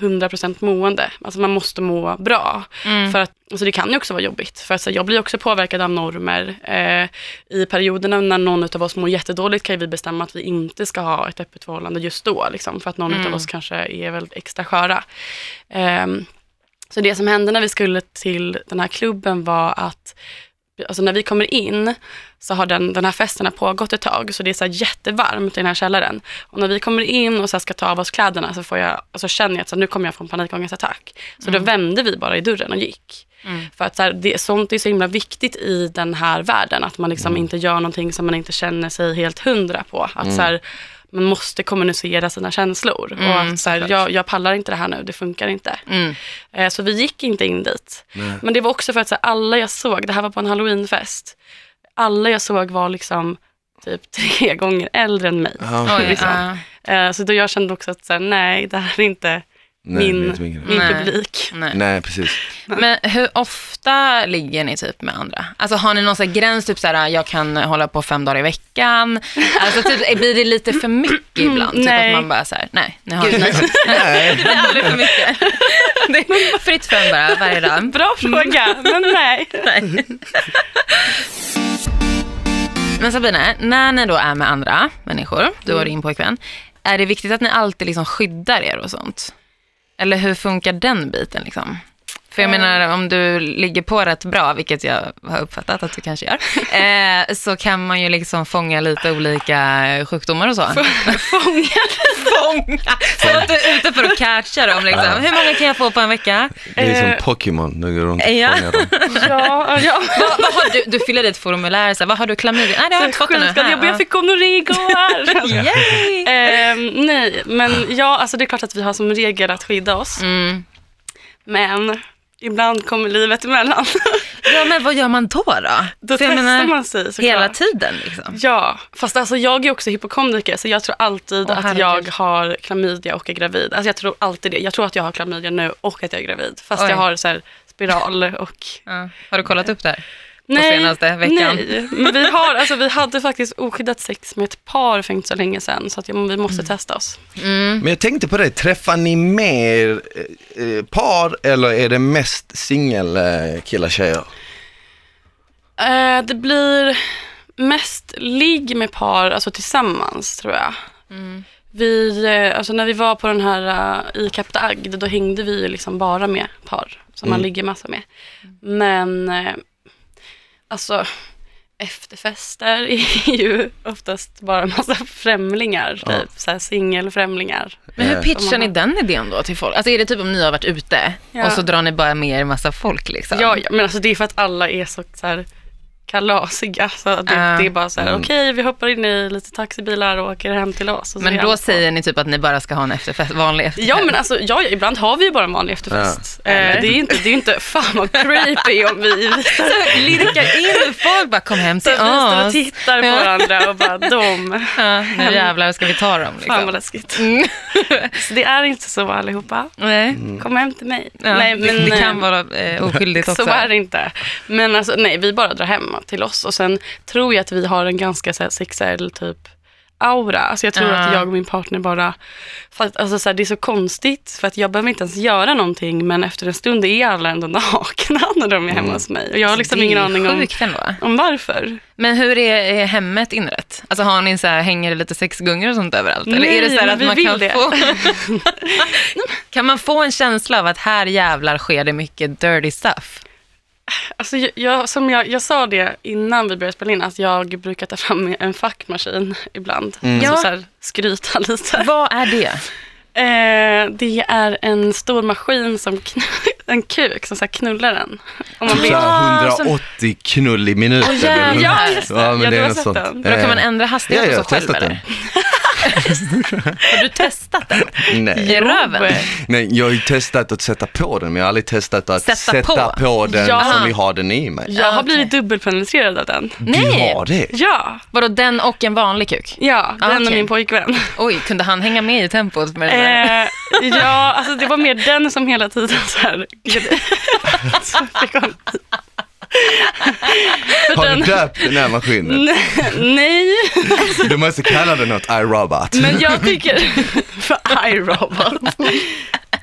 A: 100% mående. Alltså man måste må bra.
C: Mm.
A: För att, alltså det kan ju också vara jobbigt. För att, så här, jag blir också påverkad av normer. Eh, I perioderna när någon av oss mår jättedåligt kan ju vi bestämma att vi inte ska ha ett öppet förhållande just då. Liksom, för att någon
C: Mm.
A: av oss kanske är väldigt extra sköra. Ehm, så det som hände när vi skulle till den här klubben var att Alltså när vi kommer in så har den, den här festen har pågått ett tag så det är så här jättevarmt i den här källaren. Och när vi kommer in och så här ska ta av oss kläderna så, får jag, alltså känner jag att så här, nu kommer jag få en panikångestattack. Så då vände vi bara i dörren och gick. För att så här, det, sånt är så himla viktigt i den här världen. Att man liksom inte gör någonting som man inte känner sig helt hundra på. Att så här, man måste kommunicera sina känslor. och att så här, jag, jag pallar inte det här nu, det funkar inte. Eh, Så vi gick inte in dit. Men det var också för att så här, alla jag såg, det här var på en halloweenfest, alla jag såg var liksom typ *laughs* tre gånger äldre än mig.
C: Ja, Ah, okej.
B: Oj,
A: liksom.
B: ja.
A: Eh, Så då jag kände också att så här, nej, det här är inte
C: Nej, det är
A: min,
C: inte min grej.
A: min
B: Nej.
A: publik.
B: nej.
C: Nej, precis.
B: Men hur ofta ligger ni typ med andra? Alltså har ni någon sån här gräns, typ så här, jag kan hålla på fem dagar i veckan? Alltså typ, blir det lite för
A: *clears throat*
B: mycket ibland? Typ
A: Nej.
B: att man bara så här, nej, nu har
C: *laughs*
B: ni
C: Nej.
B: det är aldrig för mycket. *laughs* Det är fritt fram bara, varje dag.
A: Bra *laughs* fråga, Mm. men nej.
B: *laughs* Nej. Men Sabine, när ni då är med andra människor, du och din pojkvän, är det viktigt att ni alltid liksom skyddar er och sånt? Eller hur funkar den biten? Liksom? För För jag menar, om du ligger på rätt bra, vilket jag har uppfattat att du kanske *laughs* gör, eh, så kan man ju liksom fånga lite olika sjukdomar och så.
A: Fångad.
B: Fånga! Så att du är ute för att catcha dem liksom. Hur många kan jag få på en vecka?
C: Det är som Pokémon, nu går runt och
B: Ja.
C: fångar dem.
A: Ja, ja.
B: Vad, vad har du, du fyller i ett formulär, så här, vad har du klamydia? Nej, det har jag inte fått ännu.
A: Självskad,
B: Här,
A: jag, jag fick gonorré igår.
B: *laughs* ja. Yay!
A: Ehm, nej, men ja, alltså det är klart att vi har som regel att skydda oss.
B: Mm.
A: Men ibland kommer livet emellan.
B: Ja, men vad gör man då då?
A: Då
B: För jag
A: testar
B: menar,
A: man sig såklart.
B: hela tiden liksom.
A: Ja, fast alltså jag är också hypokondriker så jag tror alltid
B: Åh,
A: att
B: herregud.
A: jag har klamydia och är gravid. Alltså jag tror alltid det. Jag tror att jag har klamydia nu och att jag är gravid. Fast
B: Oj.
A: jag har så här spiral
B: *laughs*
A: och...
B: Ja. Har du kollat upp det här? senaste veckan.
A: Nej, men vi, har, alltså, vi hade faktiskt oskyddat sex med ett par för inte så länge sedan så att jag, vi
B: Mm.
A: måste testa oss.
C: Men jag tänkte på det, träffar ni mer eh, eh, par eller är det mest singel eh, killar tjejer?
A: Eh, det blir mest ligg med par, alltså tillsammans tror jag. Vi, eh, alltså när vi var på den här eh, i Kapta Agd, då hängde vi ju liksom bara med par som man ligger massa med. Men eh, alltså efterfester är ju oftast bara en massa *laughs* främlingar, typ. Så här singelfrämlingar.
B: Men hur
C: Eh,
B: pitchar ni den idén då till folk? Alltså är det typ om ni har varit ute
A: Ja.
B: och så drar ni bara med er massa folk liksom?
A: Ja, ja, men alltså det är för att alla är så, så här kalasiga. Så det,
B: Ja.
A: det är bara så här,
C: Mm.
A: okej vi hoppar in i lite taxibilar och åker hem till oss. Och så
B: Men
A: är
B: då
A: alla på.
B: säger ni typ att ni bara ska ha en efterfest, vanlig efterfest?
A: Ja
B: *laughs*
A: men alltså, ja, ja, ibland har vi ju bara en vanlig efterfest.
B: Ja.
A: Eh, det är ju inte, det är ju inte, fan vad creepy om
B: *laughs*
A: vi visar
B: Så *laughs* lirkar alltså, in folk, bara kom hem
A: så
B: till
A: vi står och
B: oss.
A: tittar
B: Ja.
A: på varandra och bara
B: *laughs*
A: de,
B: Ja, nu jävlar ska vi ta dem
A: fan vad
B: liksom.
A: läskigt. Så det är inte så allihopa,
B: *laughs* Nej.
A: kom hem till mig.
B: Mm. Ja,
A: Nej, men,
B: det
A: eh,
B: kan vara eh, oskyldigt också.
A: Så är det inte. Men alltså, nej, vi bara drar hem till oss och sen tror jag att vi har en ganska så här, sexuell typ aura. Alltså jag tror
B: Ja.
A: att jag och min partner bara, för att, alltså, så här, det är så konstigt för att jag behöver inte ens göra någonting men efter en stund är alla ändå *laughs* nakna när de är hemma hos mig. Och jag har liksom
B: Det är
A: ingen aning om,
B: sjukt ändå.
A: om varför.
B: Men hur är, är hemmet inrett? Alltså har ni så här, hänger det lite sexgungor och sånt överallt? Eller
A: Nej,
B: är det så här
A: men
B: att
A: vi
B: man
A: vill
B: kan
A: det.
B: få...
A: *laughs*
B: kan man få en känsla av att här jävlar sker det mycket dirty stuff?
A: Alltså, jag- jag, som jag, jag sa det innan vi började spela in, att jag brukar ta fram en fackmaskin ibland. Alltså,
C: Mm.
B: Ja.
A: så här, skryta lite.
B: Vad är det?
A: Eh, det är en stor maskin som kn- *laughs* en kuk som så här knullar den. Om man
C: Typ
A: vill.
C: så här
B: Ja,
C: 180 knull i minuten.
B: Åh, jävlar.
A: Ja, just det.
C: Ja, men
A: ja, du
C: det är
A: har
C: något
A: sett
C: sånt.
A: den.
B: Då kan man
C: Eh,
B: ändra
C: ja,
B: hastighet
C: jag
B: och
C: har
B: så själv
C: testat den.
B: eller? *laughs* Har du testat den?
C: Nej.
B: I röven?
C: Nej, jag har ju testat att sätta på den, men jag har aldrig testat att
B: Sätta
C: sätta,
B: på?
C: på. den
A: Ja.
C: som vi har den i mig.
A: Jag
B: Ja,
A: har blivit dubbelpenetrerad av den.
B: Nej.
C: Du har det?
A: Ja,
B: Vadå den och en vanlig kuk?
A: ja
B: Ah,
A: den och
B: okej.
A: min pojkvän.
B: Oj, kunde han hänga med i tempot med den där? *laughs*
A: Eh, ja, alltså det var mer den som hela tiden så här... Så fick hon-
C: Har du döpt den här maskinen?
A: Nej,
C: Du måste kalla den något iRobot.
A: men jag tycker... För iRobot.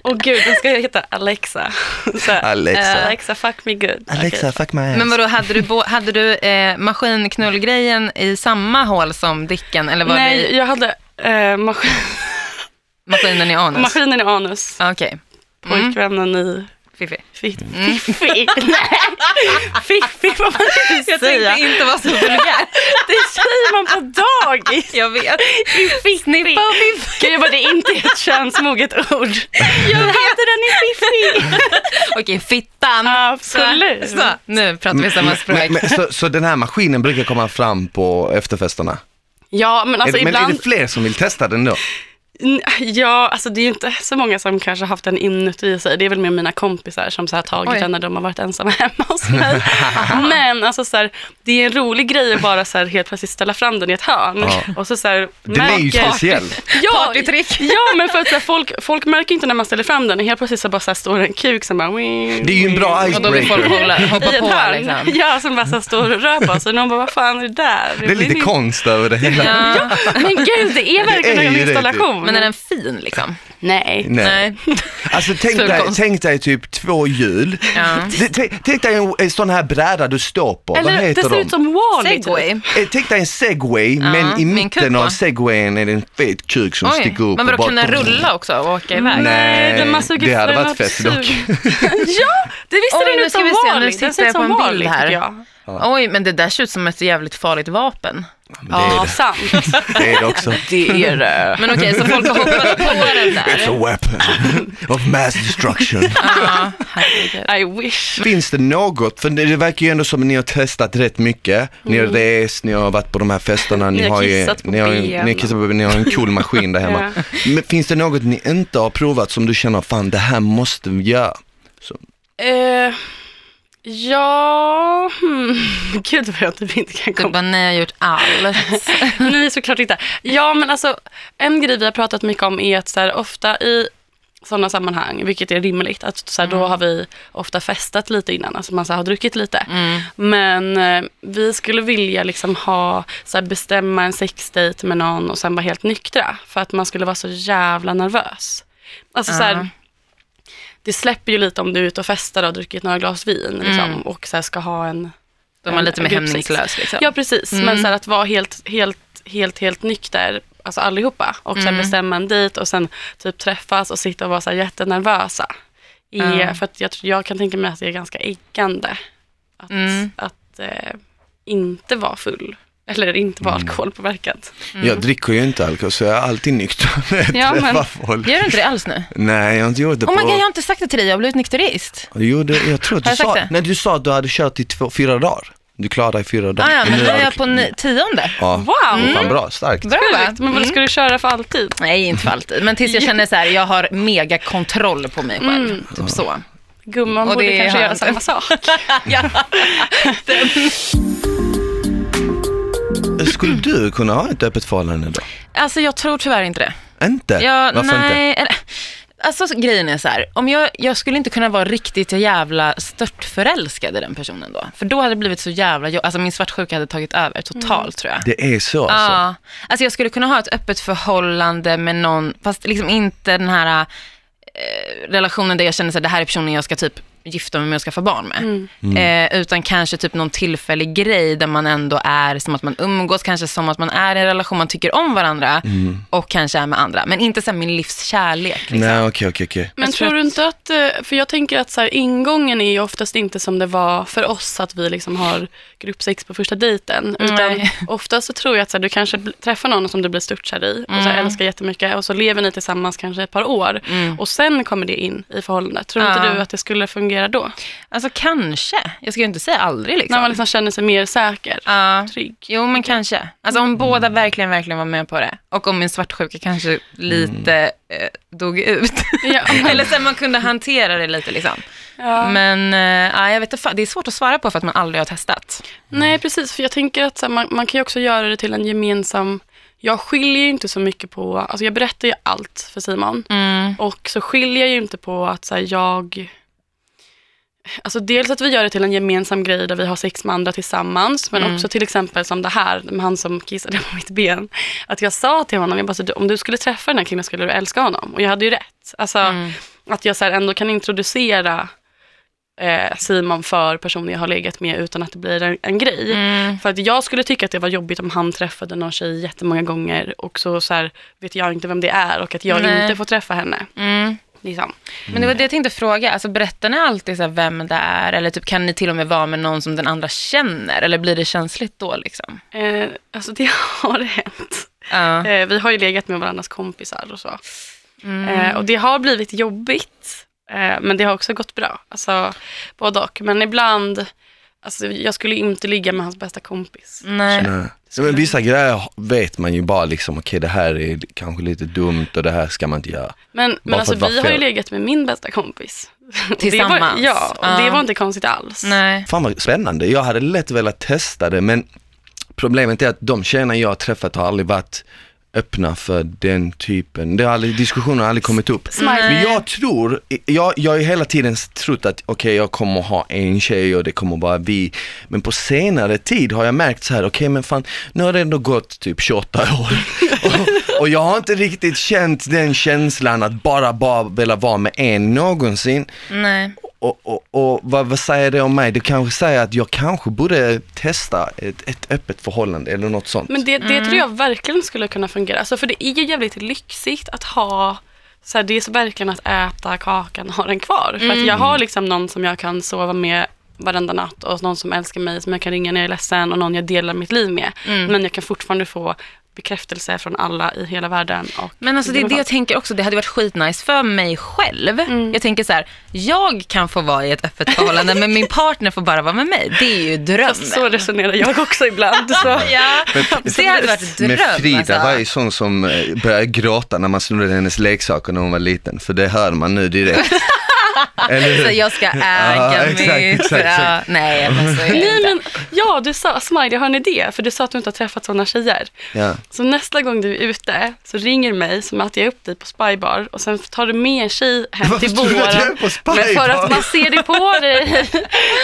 A: Och gud, den ska jag heta Alexa. Så här,
C: Alexa.
A: eh, Alexa, fuck me good.
C: Alexa, fuck my ass.
B: Men vadå, hade du, bo- hade du eh, maskinknullgrejen i samma hål som dicken eller var det
A: Nej,
B: i
A: jag hade eh, maskin, *laughs*
B: maskinen i anus?
A: maskinen i anus,
B: Ah, Okej,
A: Mm. pojkvännen i
B: fiffi.
A: fitt- *laughs* fiffi. Nej, Fiffi får man inte
B: Jag
A: säga.
B: tänkte inte vara så vulgär.
A: Det säger man på *laughs* dagis.
B: Jag vet.
A: Snippa och fiffi. Gud, jag bara, det är inte ett könsmoget ord. Jag hade den i fiffi. *laughs*
B: Okej, fittan.
A: Absolut.
B: Så, nu pratar vi samma språk.
C: Men, men, så, så den här maskinen brukar komma fram på efterfesterna?
A: Ja, men alltså
C: är, men är
A: ibland...
C: det fler som vill testa den då?
A: N- Ja, alltså det är ju inte så många som kanske haft den inuti sig. Det är väl mer mina kompisar som så här tagit
B: Oj.
A: den när de har varit ensamma hemma hos
C: *laughs*
A: mig. Men alltså så här, det är en rolig grej att bara så här, helt plötsligt ställa fram den i ett hörn.
C: Ja.
A: Och så så här,
C: Den är ju
A: märker-
C: speciell.
A: *laughs* Ja,
B: Partytrick.
A: ja, men för att så här, folk, folk märker inte när man ställer fram den. Helt plötsligt så bara så här, står en kuk som bara...
C: Det är ju en bra
B: Och då vill folk
C: mm, icebreaker.
B: hålla, hoppa
A: i ett
B: på
A: hörn.
B: liksom.
A: Ja, som bara så här, står och rör på sig. Någon bara, vad fan är det där?
C: Det är lite konst över det hela.
B: Ja.
A: Men gud, det är verkligen
C: *laughs* Det är ju
A: en
C: det, typ.
A: installation.
B: Men är den fin liksom?
A: Nej.
C: Nej.
B: Nej.
C: Alltså tänk dig,
B: Surkonst.
C: tänk dig typ två hjul.
B: Ja.
C: Det- Tänk, tänk dig en, en sån här bräda du står på, vad
A: Eller det
C: heter
A: ser
C: de?
A: ut som Wall-E. typ.
B: Segway.
C: Eh, Tänk dig en segway, men i
B: min
C: mitten
B: kupa.
C: av segwayen är det en fet kuk som
B: Oj,
C: sticker upp.
B: men
C: och
B: vadå
C: bara-
B: kunna rulla också och åka
A: Nej,
B: iväg?
C: Nej,
A: den man suger
C: det hade
A: för en
C: varit fett
A: absurd.
C: dock.
A: *laughs* ja, det visste
B: Oj,
A: den
B: nu
A: ut
B: ska
A: som
B: vi se, nu
A: Wall-E. Den
B: tittar
A: ser
B: jag
A: ut
B: på
A: som
B: en bild
A: Wall-E
B: här.
A: tycker jag.
B: Oj, men det där ser ut som ett jävligt farligt vapen.
A: Ja,
C: det.
A: sant.
C: *laughs* Det är det också.
B: *laughs* Det är det. Men okej, så folk har hoppat på den
C: It's
B: *laughs* där.
C: a weapon of mass destruction.
B: *laughs* Ja, herregud.
A: I wish.
C: Finns det något, för det det verkar ju ändå som att ni har testat rätt mycket. Ni har
B: Mm.
C: rest, ni har varit på de här festerna, ni,
A: Ni har
C: har ju,
A: kissat på
C: ni, har, ju-
A: ben.
C: ni, har kissat på, ben, ni har en cool maskin
B: *laughs*
C: där hemma. Men finns det något ni inte har provat som du känner, fan det här måste vi göra?
A: Eh, ja, hmm. *laughs* gud vad jag typ inte kan
B: Du
A: komma
B: bara, ni har gjort allt.
A: *laughs* Nej, såklart inte. Ja, men alltså, en grej vi har pratat mycket om är att så här, ofta i sådana sammanhang, vilket är rimligt, att så här, då har vi ofta festat lite innan, alltså man så här, har druckit lite. Men eh, vi skulle vilja liksom ha, så här, bestämma en sexdate med någon och sen vara helt nyktra, för att man skulle vara så jävla nervös. Alltså så här, det släpper ju lite om du är ute och festar och har druckit några glas vin liksom, och så här, ska ha en
B: De var lite mer
A: Gruppsex.
B: hämningslös liksom.
A: Ja, precis. Men så här, att vara helt, helt, helt, helt nykter, alltså allihopa, och sen
B: Mm.
A: bestämma en dejt och sen typ träffas och sitta och vara så här jättenervösa. Är, För att jag, tror- jag kan tänka mig att det är ganska äggande att,
B: Mm.
A: att eh, inte vara full. Eller inte
B: Mm.
A: vara alkoholpåverkad.
C: Jag dricker ju inte alkohol så jag är alltid nykter när jag
A: Ja, men-
C: träffar folk.
B: Gör du inte det alls nu?
C: Nej, jag har inte gjort det
B: Oh my
C: på...
B: god, jag har inte sagt det till dig, jag har blivit nykterist.
C: Jo, det, jag tror att
B: Har
C: du
B: jag sagt
C: sa,
B: det?
C: när du sa att du hade kört i två, fyra dagar. Du klarade i fyra dagar.
B: Ah, ja, men
C: nu
B: nu är
C: har
B: jag
C: du-
B: på ni- tionde.
C: Ja,
A: Wow!
C: det är fan bra, starkt.
B: Bra va?
A: Sjukt, Men vad ska du köra för alltid?
B: Nej, inte för alltid. Men tills jag känner så här, jag har mega kontroll på mig själv. Typ så.
A: Gumman
B: Och
A: borde
B: det
A: kanske
B: har
A: göra
B: inte.
A: samma sak.
C: Skulle du kunna ha ett öppet förhållande då?
B: Alltså jag tror tyvärr inte det.
C: Inte?
B: Jag,
C: Varför inte?
B: nej, eller- Alltså så- grejen är så här, om jag, jag skulle inte kunna vara riktigt jävla störtförälskad i den personen då. För då hade det blivit så jävla, jo- alltså min svartsjuka hade tagit över totalt tror jag.
C: Det är så alltså?
B: Ja, alltså jag skulle kunna ha ett öppet förhållande med någon, fast liksom inte den här eh, relationen där jag känner att det här är personen jag ska typ gifta mig med och skaffa barn med. Eh, utan kanske typ någon tillfällig grej där man ändå är som att man umgås, kanske som att man är i en relation, man tycker om varandra och kanske är med andra. Men inte så här min livs kärlek. Liksom.
C: Nej, okej, okej, okej.
A: Men
B: Jag
A: tror
B: tror
A: du inte att, eh, för jag tänker att så här, ingången är ju oftast inte som det var för oss att vi liksom har gruppsex på första dejten. Utan
B: Nej.
A: oftast så tror jag att så här, du kanske bl- träffar någon som du blir störtkär i och
B: Mm.
A: så här, älskar jättemycket och så lever ni tillsammans kanske ett par år och sen kommer det in i förhållandet. Tror inte
B: Ja.
A: du att det skulle fungera då?
B: Alltså kanske, jag skulle inte säga aldrig liksom.
A: När man liksom känner sig mer säker,
B: Ja.
A: trygg.
B: Jo, men kanske. Alltså om båda verkligen, verkligen var med på det. Och om min svartsjuka kanske lite eh, dog ut.
A: Ja.
B: *laughs* Eller så här, man kunde hantera det lite liksom.
A: Ja.
B: Men eh, ja, jag vet inte, fan, det är svårt att svara på för att man aldrig har testat.
A: Nej, precis. För jag tänker att så här, man, man kan ju också göra det till en gemensam... Jag skiljer ju inte så mycket på... Alltså jag berättar ju allt för Simon.
B: Mm,
A: Och så skiljer jag ju inte på att så här, jag... Alltså dels att vi gör det till en gemensam grej där vi har sex med andra tillsammans. Men också till exempel som det här med han som kissade på mitt ben. Att jag sa till honom, jag bara, så, du- om du skulle träffa den här killen skulle du älska honom. Och jag hade ju rätt. Alltså att jag så här, ändå kan introducera eh, Simon för personer jag har legat med utan att det blir en, en grej.
B: Mm.
A: För att jag skulle tycka att det var jobbigt om han träffade någon tjej jättemånga gånger och så, så här, vet jag inte vem det är och att jag
B: Nej.
A: inte får träffa henne.
B: Mm.
A: Liksom.
B: Men det var det jag tänkte fråga. Alltså, berättar ni alltid så här, vem det är? Eller typ, kan ni till och med vara med någon som den andra känner? Eller blir det känsligt då? Liksom?
A: Eh, alltså det *laughs* har hänt.
B: Ja.
A: Eh, vi har ju legat med varandras kompisar och så.
B: Mm.
A: Eh, och det har blivit jobbigt. Eh, men det har också gått bra. Alltså både och. Men ibland, alltså, jag skulle inte ligga med hans bästa kompis.
B: Nej.
C: Nej. Ja, Men vissa grejer vet man ju bara liksom, okej det här är kanske lite dumt och det här ska man inte göra.
A: Men,
C: Bara
A: men
C: för
A: alltså,
C: att vara
A: vi har ju
C: fel.
A: legat med min bästa kompis. *laughs* Och Det var,
B: Tillsammans.
A: ja, och det
B: Ja.
A: var inte konstigt alls.
B: Nej.
C: Fan vad spännande, jag hade lätt velat testa det men problemet är att de tjejerna jag har träffat har aldrig varit öppna för den typen, det har aldrig, diskussionen har aldrig kommit upp.
A: Smile.
C: Men jag tror, jag, jag har ju hela tiden trott att okej jag kommer ha en tjej och det kommer vara vi. Men på senare tid har jag märkt så här, okej men fan, nu har det ändå gått typ 28 år. och, Och jag har inte riktigt känt den känslan att bara, bara vilja vara med en någonsin.
B: Nej.
C: Och, och, och vad, vad säger det om mig? Det kanske säger att jag kanske borde testa ett, ett öppet förhållande eller något sånt.
A: Men det, det tror
B: Mm.
A: jag verkligen skulle kunna fungera. Alltså, för det är ju jävligt lyxigt att ha så här, det är så verkligen att äta kakan och ha den kvar. För att jag
B: Mm.
A: har liksom någon som jag kan sova med varenda natt och någon som älskar mig som jag kan ringa när jag är ledsen och någon jag delar mitt liv med.
B: Mm.
A: Men jag kan fortfarande få bekräftelse från alla i hela världen. Och
B: Men alltså det är det
A: globalt.
B: jag tänker också, det hade varit skitnice för mig själv. Jag tänker så här, jag kan få vara i ett öppet förhållande men min partner får bara vara med mig. Det är ju drömmen.
A: Fast så resonerar jag också
B: *laughs*
A: ibland. Så.
B: Ja, det hade varit dröm
C: Men Frida
B: alltså.
C: var ju sån som eh, började gråta när man snodde hennes leksaker när hon var liten, för det hör man nu direkt. Eller hur?
B: Så jag ska
C: Ja,
B: äga
C: exakt,
B: mitt.
C: exakt,
B: Ja,
C: exakt.
B: nej, men så är det
A: Nej
B: inte.
A: men ja, du sa, Smile jag har en idé, för du sa att du inte har träffat sådana tjejer.
C: Ja.
A: Så nästa gång du är ute så ringer du mig så möter jag upp dig på spybar och sen tar du med en tjej hem
C: Varför
A: till
C: tror du att jag är
A: våren.
C: på Spy
A: Men för
C: Bar?
A: att man ser det på
C: *laughs*
A: dig.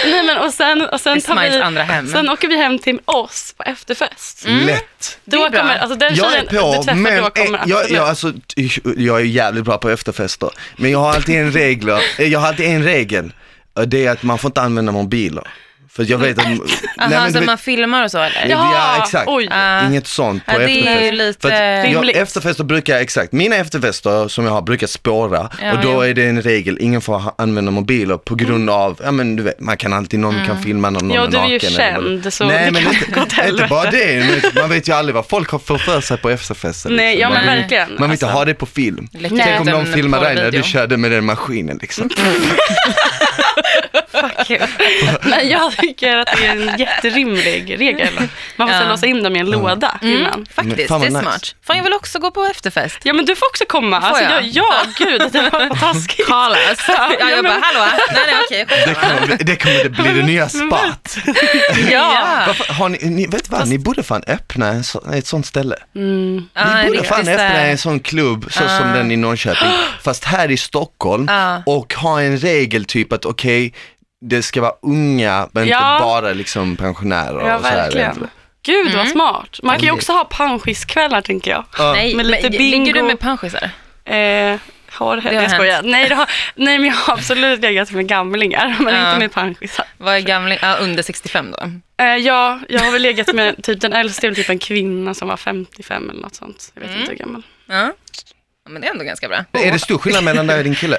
A: Nej men och sen, och sen
B: Det är
A: tar vi,
B: Smiles andra hem. Mm.
A: sen åker vi hem till oss på efterfest.
C: Lätt.
A: Då
B: Det är bra.
A: kommer, alltså den
C: Jag är
A: tjejen du
C: på,
A: träffar
C: men
A: då kommer
C: eh, jag,
A: absolut-
C: jag, alltså, t- jag är jävligt bra på efterfester. Men jag har alltid en regel, eh, jag har alltid en regel. och Det är att man får inte använda mobiler. För jag vet att... Nej, men
B: Jaha,
C: du
B: så
C: vet-
B: man filmar och så eller?
A: Ja.
C: Ja, exakt.
A: oj.
B: Ah.
C: Inget sånt på
B: Ja, det är ju
C: efterfest.
B: lite
C: För att jag,
A: rimligt.
C: efterfester brukar, exakt, mina efterfester som jag har brukar spåra
B: Ja,
C: och då
B: jo.
C: är det en regel, ingen får ha, använda mobiler på grund av, ja men du vet, man kan alltid, någon kan filma när någon
A: Mm. Ja,
C: är
A: du är
C: naken.
A: ju
C: eller vad det-
A: känd, så
C: Nej
A: det
C: men
A: kan
C: inte,
A: gå åt
C: inte
A: helvete.
C: bara det, man vet- man vet ju aldrig vad folk har för, för sig på efterfester.
A: Nej, ja
C: man
A: men
C: vill,
A: verkligen. Alltså,
C: man vill inte ha det på film.
B: Läcker
A: Nej.
C: Tänk om
B: ut
C: någon
B: en
C: filmar dig när du
B: porrvideo.
C: körde med den maskinen
A: *laughs*
C: liksom. *laughs*
A: Nej, jag tycker att det är en jätterimlig regel. Man får
B: Ja. Mm.
A: ja. låsa in dem i en
C: Mm.
A: låda innan.
B: Faktiskt,
C: Fan,
B: det är
C: vad nice.
B: smart. Fan, jag vill också gå på efterfest.
A: Ja men du får också komma. Alltså,
B: jag?
A: jag? Ja, gud
B: *laughs*
A: det var vad taskigt.
B: Carlas. Ja,
A: Ja, men-
B: jag bara, hallå? Nej, nej, okej.
C: Det
B: skitsamma.
C: kommer, bli- det kommer bli det nya spat.
B: Ja.
C: Varför, har ni, ni, vet vad, ni borde fan öppna en så, ett sånt ställe.
B: Ja, en
C: Ni borde
B: riktig
C: fan
B: så här-
C: öppna en sån klubb så som
B: Ah.
C: den
B: *gasps*
C: i Norrköping, fast här i Stockholm
B: Ja.
C: och ha en regel typ att okej, det ska vara unga men
A: Ja.
C: inte bara liksom pensionärer
A: Ja,
C: och så här.
A: verkligen. Gud vad
B: Mm.
A: smart. Man kan ju också ha panschisskvällar tänker jag.
C: Ja.
B: Nej,
A: Med lite
B: men
A: bingo.
B: Ligger du med panschisar?
A: Eh, har det,
B: har
A: jag skojar. Nej, det har, nej men jag har absolut legat med gamlingar men
B: Ja.
A: inte med panschisar.
B: Vad är gamling? Ja, under 65 då.
A: Eh, ja, jag har väl legat med typ den äldsta är väl typ en kvinna som var 55 eller något sånt. Jag vet
B: Mm.
A: inte hur gammal.
B: Ja. Ja, Men det är ändå ganska bra.
C: Är det stor skillnad mellan dig och din kille?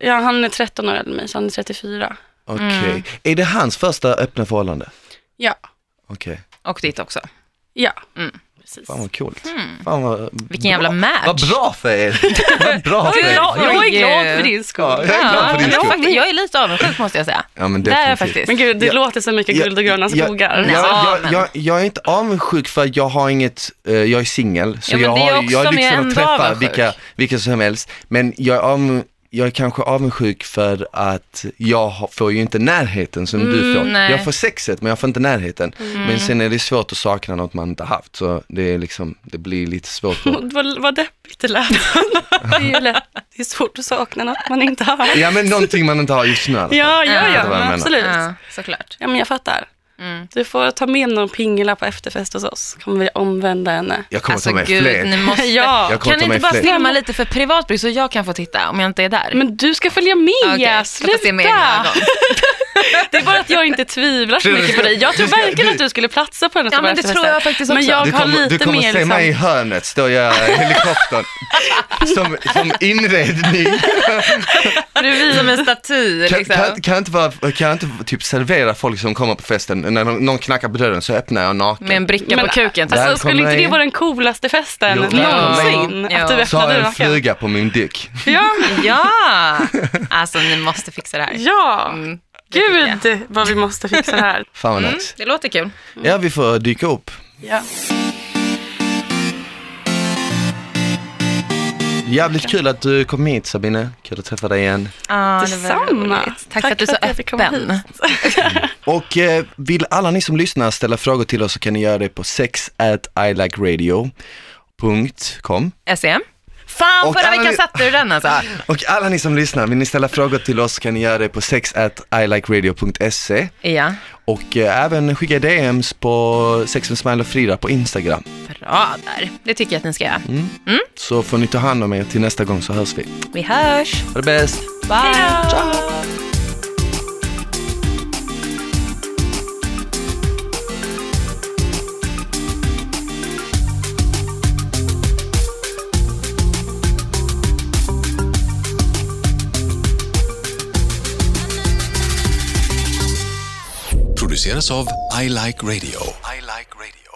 A: Ja, han är 13 år äldre än mig så han är 34.
B: Mm.
C: Okej, är det hans första öppna förhållande?
A: Ja,
C: Okej,
B: Och ditt också.
A: ja.
B: Mm.
A: Precis.
C: fan vad coolt. Fan vad,
B: Hmm. Vilken jävla match.
C: vad bra
B: *laughs*
C: för er. vad bra för
A: Jag,
C: er.
A: jag är
B: Oj.
A: glad för din skull.
C: Ja, jag är glad
B: Ja,
C: för
B: jag,
C: din
B: är
C: skull.
B: faktiskt, jag är lite avundsjuk måste jag säga.
C: Ja, men
B: Det är jag
C: definitivt.
B: faktiskt.
A: Men gud, det
C: Ja.
A: låter så mycket guld och gröna skogar.
C: Jag, jag,
B: Ja,
C: jag,
B: men-
C: jag, jag är inte avundsjuk för att jag har inget, eh, jag är singel, så
B: Ja, men
C: jag
B: det är
C: har
B: också,
C: jag har
B: men jag är
C: lyxen att
B: ändå
C: träffa
B: avundsjuk.
C: vilka, vilka som helst. Men jag är, av, jag är kanske avundsjuk för att jag har, får ju inte närheten som
A: Mm,
C: du får.
B: nej.
C: Jag får sexet men jag får inte närheten. Men sen är det svårt att sakna något man inte haft, så det, är liksom, det blir lite
A: *laughs*
C: svårt. För...
A: Vad, vad deppigt det lät. Det är ju lätt. Det är svårt att sakna något man inte har.
C: ja men någonting man inte har just nu i alla fall.
A: Ja, ja,
B: Ja,
A: ja,
C: vad jag
A: men
C: menar.
A: absolut.
B: Ja, såklart.
A: Ja, men jag fattar.
B: Mm.
A: Du får ta med någon pingla på efterfest hos oss. kommer vi omvända henne.
C: Jag kommer ta med
B: Alltså, ni
C: fler.
B: måste...
A: Ja.
C: Jag kommer
B: Kan
C: ta
B: ni inte
C: med
B: bara
C: fler.
B: filma lite för privat bruk så jag kan få titta om jag inte är där?
A: Men du ska följa med,
B: Okej, jag får se med egna
A: sluta!
B: ögon.
A: Det är bara att jag inte tvivlar så mycket på dig. Jag tror verkligen att du skulle platsa på hennes
B: Ja, men det
A: efterfester.
B: tror jag faktiskt
A: Men
B: också.
A: jag
C: Du
A: har
C: kommer,
A: lite
C: du kommer
A: mer
C: se
A: liksom...
C: mig i hörnet, står jag i
A: *laughs*
C: helikoptern. som, som inredning.
B: Bredvid som en staty
C: Kan,
B: liksom.
C: kan, kan jag inte, vara, kan jag inte typ servera folk som kommer på festen, när någon någon knackar på dörren så öppnar jag naken.
B: Med en bricka
A: Men,
B: på kuken typ.
A: alltså, skulle inte det
C: Välkomna
A: vara den coolaste festen
C: Jo, välkomna in.
A: någonsin?
B: Ja.
A: Att du
C: så har
A: öppnade
C: jag en
A: naken?
C: fluga på min dick.
A: Ja,
B: Ja! Alltså ni måste fixa det här.
A: ja.
B: Mm.
A: Gud vad vi måste fixa det här.
C: Fan vad
B: Mm,
C: nice.
B: det låter kul.
C: Ja, vi får dyka upp.
A: Mm. Ja.
C: Jävligt kul att du kom hit Sabine, kul att träffa dig igen.
B: Ah,
A: Detsamma.
B: Tack, för att du är så
A: jag fick komma
B: öppen.
A: hit.
C: Och eh, vill alla ni som lyssnar ställa frågor till oss så kan ni göra det på sex at ilikeradio.com
B: SEM. E Fan,
C: Och
B: förra
C: alla
B: veckan
C: ni-
B: satte du den alltså.
C: Och alla ni som lyssnar, vill ni ställa frågor till oss kan ni göra det på sex at ilikeradio.se
B: Ja,
C: och eh, även skicka DMs på sex med Smile och Frida på Instagram.
B: bra där. Det tycker jag att ni ska göra.
C: Så får ni ta hand om er till nästa gång så hörs vi.
B: Vi hörs.
C: Ha det bäst!
B: Bye.
D: produceras av I Like Radio. I like radio.